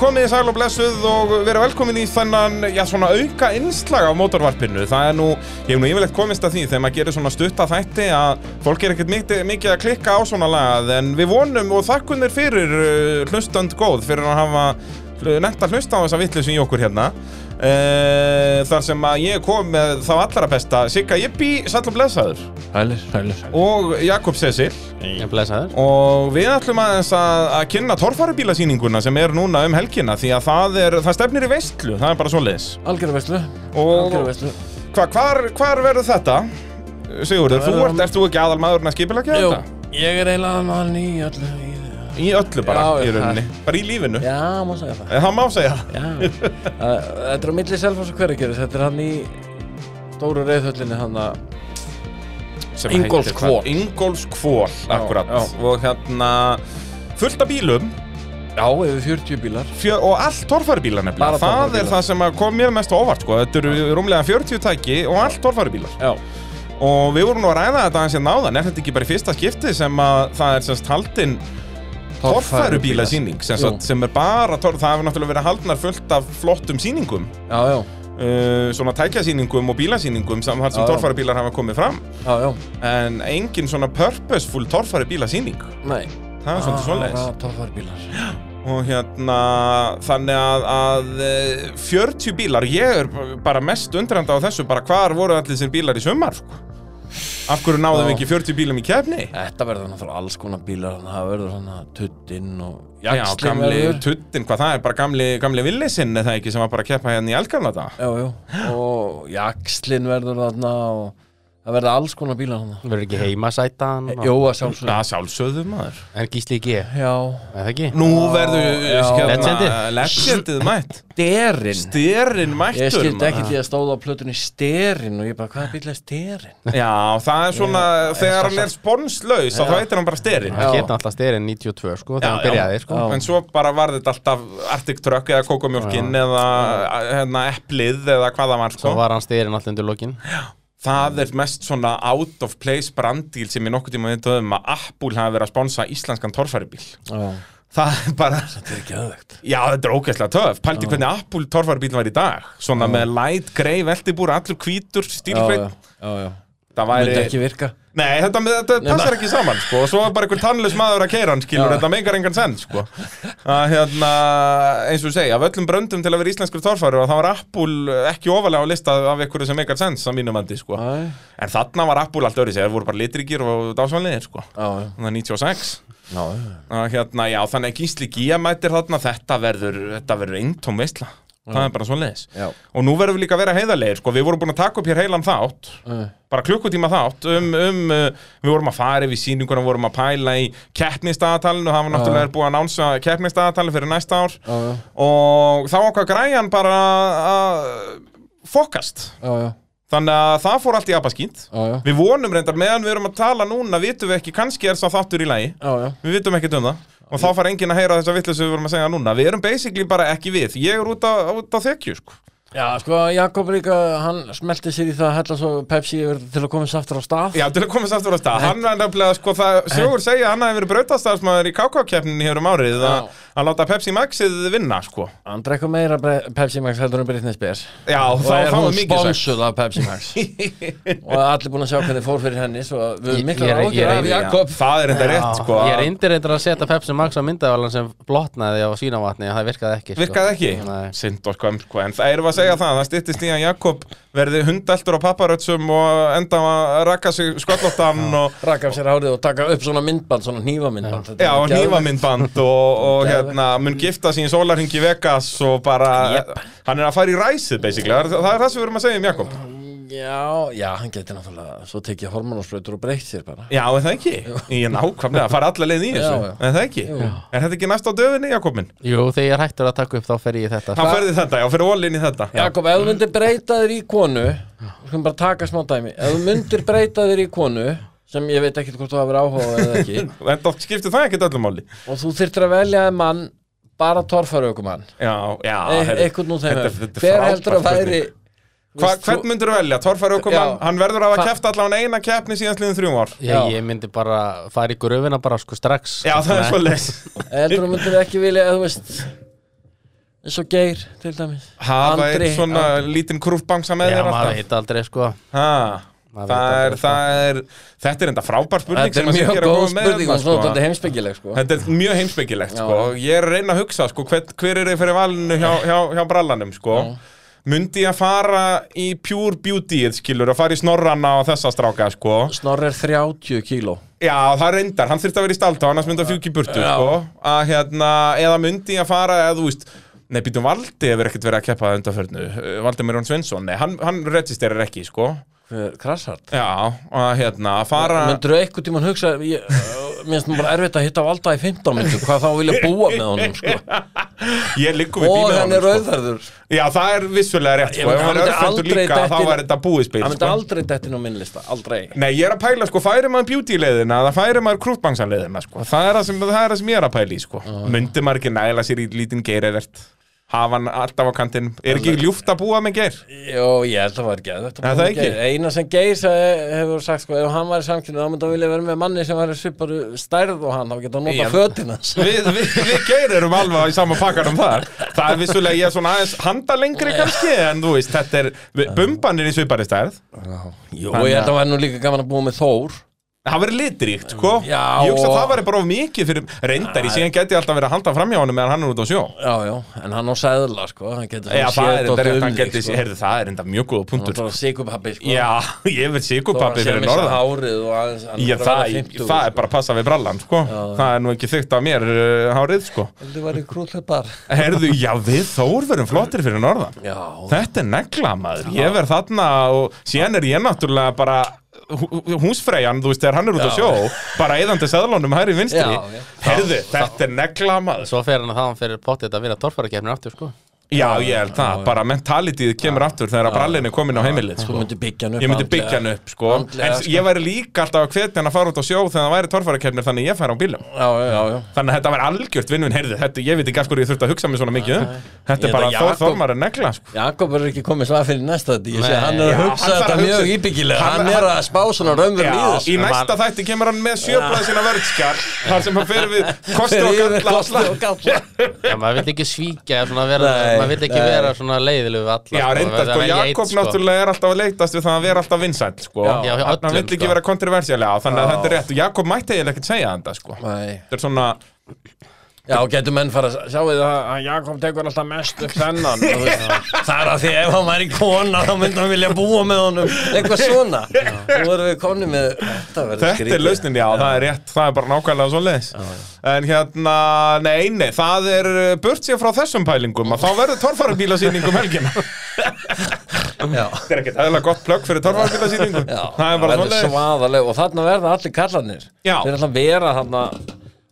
komið í sæl og blessuð og verið velkomin í þennan, já svona auka innslag af mótorvarpinu. Það er nú, ég hef nú yfirlegt komist að því þegar maður gerir svona stutta þætti að fólk er ekkert mikið, mikið að klikka á svona lagað en við vonum og þakkum þér fyrir uh, hlustönd góð fyrir að hafa netta hlusta á þessa vittlu sem í okkur hérna. Uh, þar sem að ég kom með þá allra besta Sigga Jippi, sæl og blessaður Hælir, hælir og Jakob Cecil Ég blessaður Og við ætlum aðeins að, að kynna torfarubílasýninguna sem er núna um helgina því að það, er, það stefnir í veistlu, það er bara svoleiðis. Algjörðarverslu Og Algjörðarverslu hva, hvar, hvar verður þetta? Sigurður, Það þú verður ert, á- ert þú ekki aðal maðurinn að skipilegja Jú, þetta? ég er eiginlega mann í öllu í... Í öllu bara, Já, í já, rauninni, bara í lífinu. Eh, Já, má segja það Það má segja það. Já Æ, Þetta er á milli selfos og hverjargerðis Þetta er hann í Stóru reyðhöllinni hann að Sem heitir Ingólfskvol. hvað? Ingólfskvol, akkurat. já. Og hérna, fullt af bílum Já, yfir 40 bílar fjö, og allt torfarubílar nefnilega. Bara Það er torfærubílar. það sem að kom mér mest á óvart, sko. Þetta eru rúmlega 40 tæki og allt torfarubílar. Já Og við vorum nú að ræða þetta aðeins hérna áðan, er þetta ekki bara í fyrsta skipti sem að það er semst haldin torfærubílasýning sem, Jú. sagt- sem er bara torf, það hefur náttúrulega verið haldnar fullt af flottum sýningum, Já, já, uh, svona tækjasýningum og bílasýningum sem, þar sem Já, já. torfærubílar hafa komið fram, já, já en engin svona purposeful torfærubílasýning, Nei það er Ah, svona svoleiðis. Torfarbílar Og hérna, þannig að, að eh, 40 bílar, ég er bara mest undrandi á þessu, bara hvar voru allir þessir bílar í sumar, sko? Af hverju náðum við Já. ekki 40 bílum í kefni? Þetta verður náttúrulega alls konar bílar þannig að Það verður svona tuttinn og Já, jaxlinn gamli verður. tuttin, hvað það er, bara gamli, gamli villisinn eða ekki sem var bara að keppa hérna í Elgarna þetta. Já, já Og jakslinn verður þarna og Það verður alls konar bílar hann Verður ekki heimasætan Eh, og... Jó, að sjálfsögðu Já, sjálfsögðu maður. En gísli í G Er Já, það ekki? Nú verður, já. hérna, Legendið. legendið mætt. Derinn Styrinn mættur. Ég skildi maður. ekki því að stóða á plötunni Sterinn og ég bara, hvaða bíl er Sterinn? Já, það er svona, þegar hann er sponslaus, þá heitir hann bara styrinn. Það Já. geta alltaf styrir 92 sko Þegar Já, hann já. byrjaði sko Já. En svo bara var þetta alltaf Arctic Truck eða Kokomjólkin eða hérna, Eplið eða hvað það var sko. Svo var hann styrin alltaf undir lokin Það er mest svona out of place brandíl sem ég nokkuð tíma veit um að Apple hafi verið að sponsa íslenskan torfæribíl. Já, Það er bara, þetta er ekki aðvegt Já, þetta er ógæslega töf. Pældi hvernig Apple torfarbíl var í dag. Svona með light grey veltibúr, allur hvítur, Já, stílhveit. já, já Það Það væri... myndi ekki virka Nei, þetta, þetta passar ekki saman, sko. Og svo er bara einhver tannlaus maður að keira hann, skilur. Já. Þetta meikar engan senn, sko. Að hérna, eins og segja, af öllum bröndum til að vera íslenskur torfaru, þá var Apple ekki ofalega á lista af einhverju sem meikar senn, sem mínum andi, sko. Æ, En þarna var Apple allt öðru, þeir voru bara litrigir og dásanlegir, sko. Já, já, Þannig að 96. já, já Að hérna, já, þannig að Gísli Gía mætir þarna, þetta verður, þetta verður eintóm veistla. Það er bara svo leiðis. Já. Og nú verðum við líka að vera heiðarlegir, sko, við vorum búin að taka upp hér heilan þátt, Æ. bara klukkutíma þátt, um, um, uh, við vorum að fara yfir sýninguna, vorum að pæla í keppnistaðatalinu, það var náttúrulega búið að nánsa keppnistaðatalinu fyrir næsta ár Já, já, og þá okkar græjan bara að fokast. já, já, Þannig að það fór allt í abaskýnt. já, já, Við vonum reyndar, meðan við erum að tala núna, vitum við ekki, kannski er sá þáttur í lagi. já, já. Við vitum ekkert um það og þá far enginn að heyra þessa vittlu sem við vorum að segja núna Við erum basically bara ekki við Ég er út á, út á þekju sko. Já, sko, Jakob líka, hann smelti sér í það að hella svo Pepsi yfir til að komast aftur á stað Já, til að komast aftur á stað Hann var nefnilega, sko, það sögur segja að Hann hafi verið brautastarsmaður í KK-keppninni hér um árið að, að láta Pepsi Maxið vinna, sko Hann drekku meira Bre- Pepsi Max heldur en Britney Spears Já, Og þá, er þá hún er mikið sagt sponsuð af Pepsi Max Og allir búin að sjá hvernig fór fyrir henni Svo að við Ég- erum mikla ég er- ég ráðgjur er- af ég er- Jakob Það er enda rétt, sko Ég reyndir reyndar að setja Pepsi Max á myndavælan sem blotnaði á sínavatni en það virkaði ekki sko. Virkaði ekki? Nei. Sind og skoðum, sko En það erum við að segja það, það styttist í að Jakob verði hundaltur á papparötsum og enda að rakka sig skollóttan og rakka af sér hárið og taka upp svona myndband, svona hnífamyndband Þetta er Já, geðveikt. hnífamindband og, og Geðveikt. hérna, mun gifta sín sólarhing í Vegas og bara, hann er að fara í ræsið basically, það er, það er það sem við erum að segja um Jakob Já, já, hann getur náttúrulega svo tekið hormonasprautur og breytt sér bara Já, er það ekki? Ég er nákvæmlega að fara alla leið í þessu, Já, já. er það ekki? Er þetta ekki næst á döfinni, Jakob minn? Jú, þegar ég er hættur að taka upp þá fer ég í þetta Hann ferði þetta, já, fyrir ólinn í þetta Já, Jakob, ef þú myndir breyta þér í konu við skulum bara taka smá dæmi ef þú myndir breyta þér í konu sem ég veit ekkert hvort þú hafur áhuga á eða ekki en þá skiptir það ekkert öllum máli og þú þyrftir að velja þér mann bara torfaraukumann Já, já, e heyrðu, eitthvað nú þeim þetta- þetta er hver frábær heldur að spurning. væri Hva, Veist þú- Hvern myndur velja? Torfæri okkur mann, Já. hann verður að hafa Hva- kæft allan eina keppni síðan sliðin þrjum ár Ég, Já. ég myndi bara fara í gröfina bara sko strax Já, það er Nei. svo leis heldur þú myndir ekki vilja, eða þú veist eins og Geir til dæmis hafa Andri, eitt svona lítinn krúfbangsa með Já, þér maður alltaf veit aldrei sko Ha, Maður það er, veit aldrei, sko. það er, þetta er enda frábær spurning Þetta sem er að mjög Siggi er að góð koma með spurning hérna, og svona sko. þetta heimspekileg sko Þetta er mjög heimspekilegt Já. sko. Ég er að reyna að hugsa sko, hver, hver er þið fyrir valinu hjá, hjá, hjá brallanum sko. Myndi ég að fara í pure beauty skilur, að fara í snorrana og þessa stráka sko. Snorri er 30 kíló Já, það reyndar, hann þurfti að vera í stáltá annars myndi að fjúki í burtu sko. að, hérna, eða myndi ég að fara eða þú veist Nei, býtum Valdi hefur ekkert verið að keppa það undanförnu Valdi Mérjón Svensson, nei, hann, hann registrerar ekki, sko Hver- Krassart Já, að hérna, að fara Möndur þú einhvern tímann hugsa ég, uh, Mér finnst nú bara erfitt að hitta valda í 15 minnum Hvað þá vilja búa með honum sko Ég liggum við sko. Og bílið hann er rauðverður Já, það er vissulega rétt, Ég sko, myndi- ef hann er hann myndi örfendur aldrei líka, þá detti- var þetta búið spil, Hann myndi sko aldrei dettin á minnlista, aldrei Nei, ég er að pæla, sko, færi maður beauty-leiðina eða færi maður krútbangsanleiðina, sko það er það, sem, það er það sem ég er að pæla í, sko Ah. Myndi maður ekki næla sér í lítinn geirivert hafa hann alltaf á kantinn Er ekki ljúft að búa með geir? Jó, ég held að það var geð Er það ekki? Eina sem Geir sagði, hefur sagt sko, ef hann var í samkynni þá myndi hann vilja vera með manni sem var svipar stærð og hann, þá geta hann nota Ég- fötin hans Við, við, við geir erum alveg í sama pakkanum þar Það er vissulega, ég er svona aðeins handa lengri kannski, en þú veist, þetta er við- Bumban er í svipari stærð Jó, ég held að það var nú líka gaman að búa með Þór Það verður litríkt, sko Mm, Já, Ég hugsa að og- það væri bara of mikið fyrir reyndar í síðan geti ég alltaf verið að halda framhjá honum meðan hann er út á sjó Já, já, en hann á sæðla, sko Hann getur Já, það er enda rétt, hann geti sko. séð, heyrðu, það er enda mjög góða Hann punktur var sigupappi, sko Já, ég verð sigurpappi fyrir norðan Hann sé að missa hárið og aðeins hann Já, er bara það, sko. að vera 50, það er bara að passa við brallan, sko Það er nú ekki þygt af mér uh, hárið, sko sko. Heldur var í krúllið bar Heyrðu, já, við Þór verum flottir fyrir norðan Já, Þetta er negla, maður Ég verð þarna og síðan er ég náttúrulega bara hú- hú- húsfreyjan, þú veist, þegar hann er út á Já. sjó bara eðandi seðlónum hæri vinstri Já, já. Heyrðu, þetta er negla, maður Svo fer hann að það hann fyrir pottið að vinna torfærakefnir aftur sko Já, ég held það, bara mentalityð kemur aftur þegar að brallin er komin á heimilið sko, sko. myndi byggja hann upp Ég myndi byggja hann andlega. upp, sko Andlega, En sko. ég væri líka alltaf að hvetja hann að fara út á sjó þegar það væri torfærakefnir þannig að ég færi á bílum Já, já, já Þannig að þetta væri algjört vinnvinn, heyrðu, þetta, ég veit ekki af hverju ég þurfti að hugsa mig svona mikið um Þetta er Ég bara held að Þór Jakob- Þormar er negla, sko Jakob er ekki komið svað fyrir næsta þetta Ég sé Nei. að hann Já, er að hann hugsa þarf þetta að hugsa- mjög íbyggilega Hann- Hann, er að spá svona raunverð í Já, þessu í næsta þætti kemur hann með sjöblaði sína vörðskar Þar sem hann fer við kosti og Fyrir galla kosti og galla Já, maður vil ekki svíkja svona vera, Nei, maður vil ekki nei. vera svona leiðilegu við alla Já, sko, reynda, sko, maður verður að velja eitt, Jakob náttúrulega er allaf að leitast við það að vera alltaf vinsæll, sko Já. Já, hjá Hann öllum, vill ekki sko. vera kontroversiálega, þannig að Já. þetta er rétt Og Jakob mætti eiginlega ekkert segja þetta, sko Nei. Þetta er svona, Já, getur menn fara að sjáu það að Jakob tekur alltaf mest upp þennan þú veist. Það er að því ef hann væri kona þá myndi hann vilja búa með honum eitthvað svona Nú erum við konni með Þetta, verður þetta er skrítið. lausnin, já, það er rétt, það er bara nákvæmlega svoleiðis En hérna, nei, nei, það er uh, burt sér frá þessum pælingum að þá verður torfarabílasýningum helgina Þetta Já, er ekkert eðla gott plögg fyrir torfarabílasýningum já Það er bara verður svoleiðis svaðaleg og þarna verða allir kallanir Já. Þeir ætla að vera þarna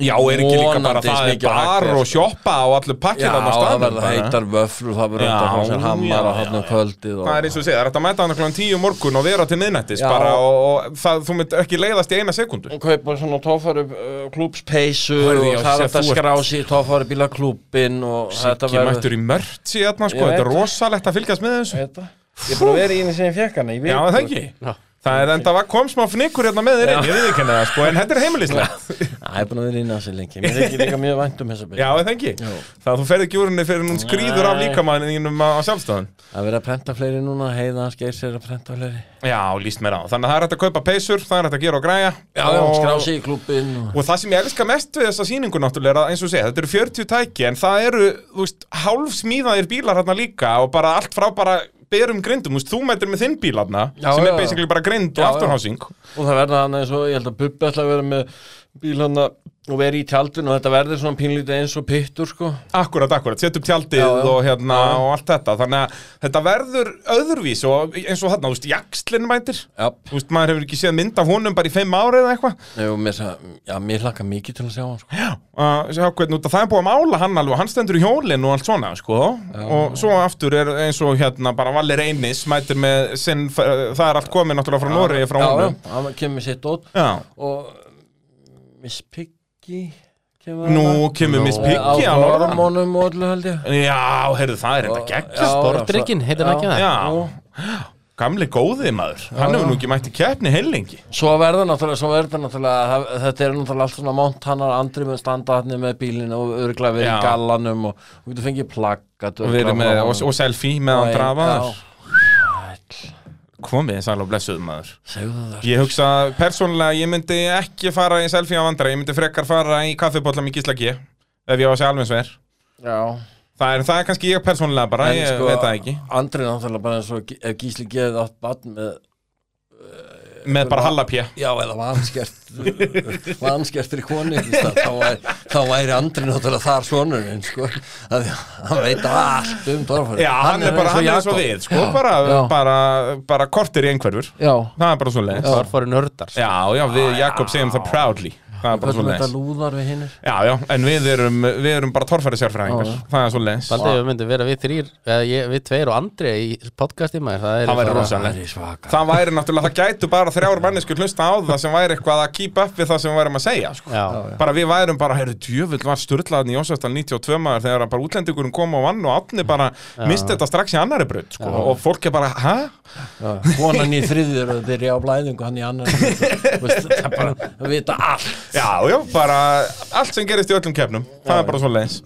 Já, er ekki líka bara Vonandi það er smikið á bar hagli, og sko. sjoppa og allur Já, pakkið þarna á það staðnum verða bara. heitar vöflur Það verður Já, þetta frá sér já, hammar og já, þarna um kvöldið og... Það er eins og segja, það er hægt að mæta hann okkur tíu um morgun og vera til miðnættis Já. bara og, og það, þú mynd ekki leiðast í eina sekundu kaupa svona tófari uh, klúbspeysu Hörðu, og já, það sem er þetta þú ert- skrási í tófari bílaklúbin og þetta Siggi mættur í mört síðan, sko, Ég þetta er veit. rosalegt að fylgjast með þessu Þetta. Ég er búin að vera í henni sem ég fekk hana í viku. Já, það ekki Já. Það er enda kom smá fnikur hérna með þér inn, ég við ekki henni það, sko, en þetta er heimilislegt Já, ég er búin að vera í henni þessi lengi. Mér þykir líka mjög vænt um þessa Já, bíla. það ekki Það að þú ferð ekki úr henni fyrir hún skrýður af Nei. líkamannum á sjálfstofan Það er verið að prenta fleiri núna, heiða hans geir sér að prenta fleiri. Já, líst mér á Þannig að það er hægt að kaupa peysur, það er hægt að gera og græja Já, og... skrási í klúbin og... Og það sem ég elska mest við þessa sýningu náttúrulega er að eins og segja, þetta eru 40 tæki en það eru, þú veist, hálf smíðaðir bílar hérna líka og bara allt frá bara berum grindum, þú veist, þú mætir með þinn bíl hérna Já, sem já, er já. basically bara grind og Já, já. afturhásing og það verða hann eins og, ég held að Bubbi ætla að vera með bíl hann og vera í tjaldinu og þetta verður svona pínlítið eins og pittur, sko. Akkurat, akkurat, sett upp tjaldið Já, já. og hérna og allt þetta, þannig að þetta verður öðruvís og eins og þarna, þú veist, jakslinn mætir, Já, þú veist, maður hefur ekki séð mynd af honum bara í fimm ári eða eitthvað Jú, mér, sa- já, mér hlakka mikið til að sjá hann, sko. að sjá hvernig út að það er búið að mála hann alveg og hann stendur í hjólinn og allt svona sko. og svo aftur er eins og hérna bara Valir Einis mætir með sinn, það er allt komið náttúrulega frá Noregi frá já, honum já, hann kemur sér dót já. og Miss Piggy kemur Nú hana. kemur Miss Nú. Piggy á á Norra hormónum og öllu held ég Já, heyrðu, það er enda Já, geggjast já, Sportdrykkinn, heitir hann já. ekki það? Já, gamli góði maður Hann hefur nú ekki mætti keppni heilengi Svo verður náttúrulega, svo verður náttúrulega það- þetta er náttúrulega allt svona montanar andri með standa hann með bílinu og örglega verið Já. í gallanum og þú getur fengið plakkat Og við erum með, og, og selfie meðan drafaður Ætl, Komið sæl og blessuð maður segðu það Ég hugsa, persónulega, ég myndi ekki fara í selfie á vandra Ég myndi frekar fara í kaffipollam í Gísla G Ef ég á að segja alveg sver Já, Það er, það er kannski ég persónulega bara, ég veit það ekki sko, Andri er náttúrulega bara eins og ef Gísli geðið átt barn með Með bara hallapjö Já, eða vanskert vanskertri koni í stað, þá, væri, þá væri Andri náttúrulega þar sonurinn sko. að því að hann veit allt um torfari Já, hann, er bara, hann er svo við, sko, bara, já. bara, bara kortir í einhverfur Já, Það er bara svo leiðis Þorfari nördar Já, já, við Jakob segjum það proudly Það er bara hvernig svo þetta leiðis lúðar við hinnir Já, já, en við erum, við erum bara torfæri sérfræðingar Það er svo leiðis Aldrei við myndum vera við þrýr eða ég, við tveir og Andri í podcasti maður Það, Það væri bara- rosa. Það er svaka Það væri náttúrulega, það gætu bara þrjár mannesku hlusta á það sem væri eitthvað að keep up við það sem við værum að segja sko. Já, Bara við værum bara, heyrðu, djöfull var styrlaðin í Jósefstal 92 maður þegar bara útlendingurinn kom á vann og átni bara misti þetta strax í annari brut sko. og fólk er bara, hæ? Konan í þriðjur og þeir eru á blæðingu hann í annar Það er bara að vita allt Já, já, bara allt sem gerist í öllum kefnum Það er bara svo leiðis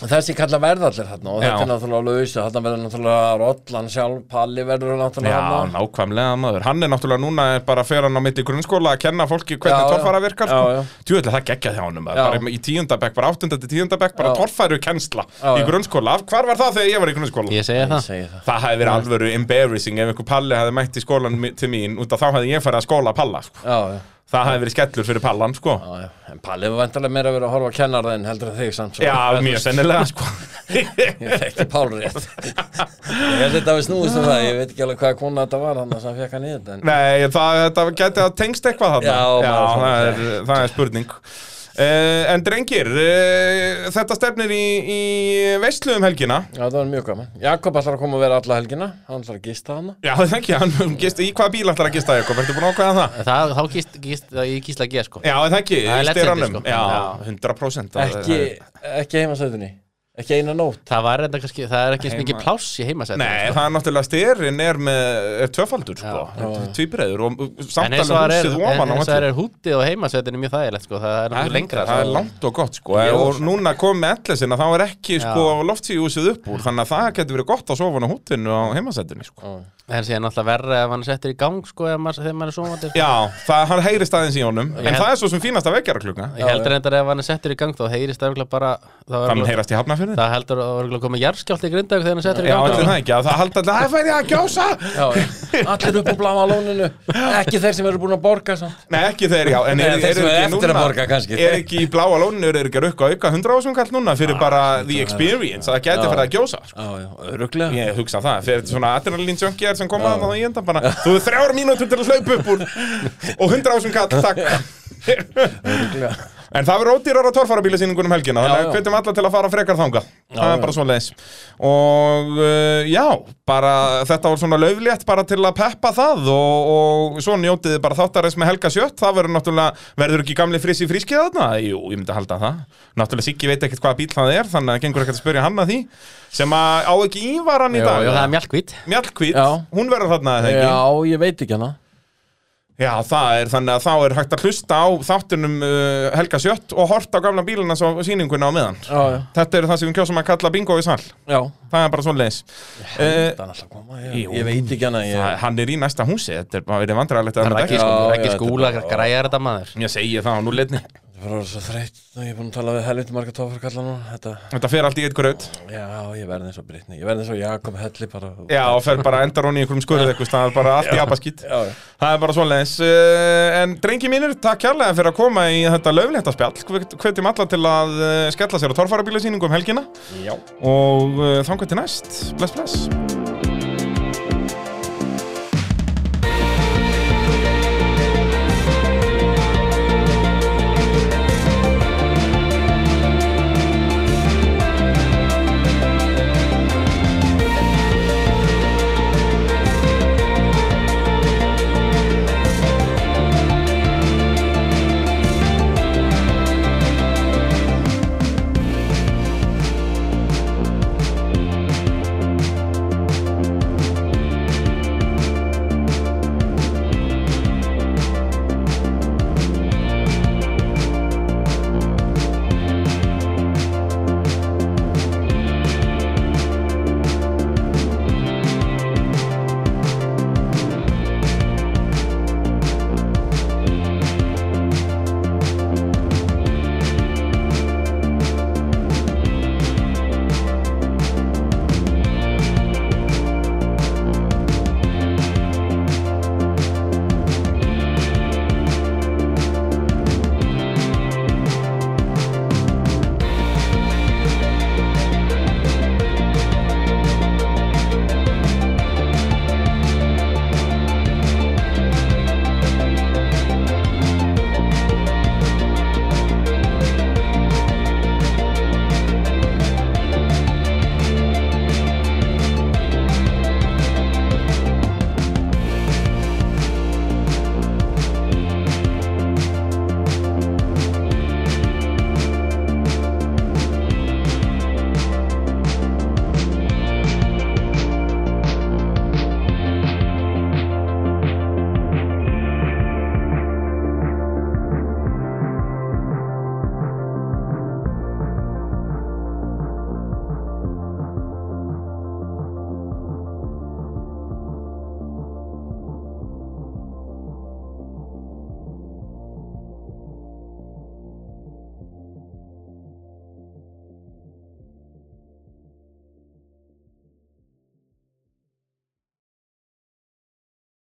Og Þessi kalla verðallir þarna og þetta Já. er náttúrulega lausu Þarna verður náttúrulega Rollan sjálf, Palli verður Já, náttúrulega þarna. nákvæmlega maður Hann er náttúrulega núna er bara fer hann á milli grunnskóla að kenna fólki Já, hvernig já. torfæra virkar Já, já. sko. Djúvill, það geggja þjá honum maður. Já. bara í tíundabekk, bara áttunda til tíundabekk bara Já. torfæru kennsla Já, í já. grunnskóla Af Hvar var það þegar ég var í grunnskóla? ég segi Ég það segi það Það hefði verið alvöru embarrassing ef einhver palli hefði mætt í skólan mi- til mín út af þá hefði ég farið að skóla palla sko. Já, já Það hefði verið skellur fyrir pallan sko. Já, já, en Palli var vantarlega meira að vera að horfa á kennarðin heldur en þig samt svo. Já, mjög sennilega sko. Ég fekk Pál rétt. ég held þetta að við snúist um það, ég veit ekki alveg hvaða kona þetta var hann sem fekk hann í þetta. En... Nei, það, það geti að tengst eitthvað þarna Já, maður- það, er, það er spurning uh, En drengir, uh, þetta stefnir í, í veistlu um helgina Já, það var mjög gaman. Jakob ætlar að koma að vera alla helgina, hann ætlar að gista hana. Já, það er ekki, hann um gist, í hvaða bíl ætlar að gista Jakob, ertu búin að ákvæða það? Það, þá gist, gist, það ég gísla að gera sko Já, það er ekki, Það er í styranum leggsendi, sko. Já, Já. 100% það er- Ekki, ekki heimasæðunni, ekki eina nótt. Það var reynda kannski, það er ekki eins Heima- mikið pláss í sko. heimasætt Nei, það er náttúrulega styrin er með er tvöfaldur, sko, Já, já. tvíbreiður og En eins og samtalið það er, húsið ofan á en eins og það öllu. er hútið og heimasættin er mjög þægilegt sko, það er nokkuð lengra það er sko. langt og gott sko og núna kom með ellesina þá er ekki Já. sko loftsíðjúsið upp úr þannig að það getur verið gott að sofa á húttinu á heimasettinu sko En síðan alltaf verra ef hann settur í gang sko ef maður- þegar maður er svovandi sko. Já, það hann heyrist aðeins í honum en Ég held- það er svo sem fínasta vekjara klukka Ég heldur reyndar ef hann er settur í gang þá heyrist það örugglega bara Það þannig var- heyrast í hafnafjörðin það heldur að það var komið jarskjált í grindaug þegar hann er settur í Já, gang allir það ekki, að það halda alltaf Það fær ég að gjósa Já, já. allir upp á bláma lóninu, ekki þeir sem eru búin að borga samt. Nei, ekki þeir, já, en Nei, er, þeir eru sem eru ekki eftir að núna borga kannski. Er ekki í bláa lóninu, eru ekki að rukka auka 100 ásum kall núna fyrir bara the experience að það geti fyrir að gjósa sko. Já, já, öruglega. Ég hugsa það, fyrir svona adrenalin junkjar sem koma að það í enda bara Þú er þrjár mínútur til að hlaupa upp úr og 100 ásum kall, takk Örugglega. En það verður ódýrar á torfarabílasýningunum um helgina Já, Þannig að já. hvetjum alla til að fara frekar þanga Það er já. bara svo leis Og uh, já, bara þetta var svona lauflétt bara til að peppa það Og, og svo njótið þið bara þáttarins með Helga Sjött Það verður náttúrulega, verður ekki gamli frissi frískið þarna? Jú, ég myndi halda það Náttúrulega Siggi veit ekkert hvaða bíl það er Þannig að það gengur ekkert að spyrja hann að því Sem að á ekki ívaran í Jú, dag jú, það er mjallkvít Mjallhvít, Já. hún verður þarna eða ekki Já, ég veit ekki hana. Já, það er þannig að þá er hægt að hlusta á þáttunum uh, Helga Sjött og horta á gamla bíluna svo sýninguna á meðan. Já, já, Þetta eru það sem við kjósum að kalla bingo í sall. já. Það er bara svo leiðis. Uh, Það er alltaf að koma, ég, ég veit ekki hana, ég... hann er í næsta húsi, þetta er bara verið vandræðalegt að Það er þetta ekki. ekki sko. Já, já, skúla, ekki þetta er sko, skúla bara- græjar þetta maður Ég segi það á núleitni. Ég var orðinn svo þreytt og ég er búinn að tala við helviti marga tófarkalla núna. Þetta, Þetta fer allt í eitt gröð. já, ég verði eins og Brittany, ég verði eins og Jakob Helli bara. Já, og fer bara endar hún í einhverjum skurð eitthvað, það er bara allt í abaskýtt. já, já. Það er bara svo leiðis. Uh, en drengi mínir, takk kærlega fyrir að koma í þetta löflétta spjall. Hvetjum alla til að eh, uh, skella sér á torfarabílasýningu um helgina já. og uh, þangar til næst. Bless, bless.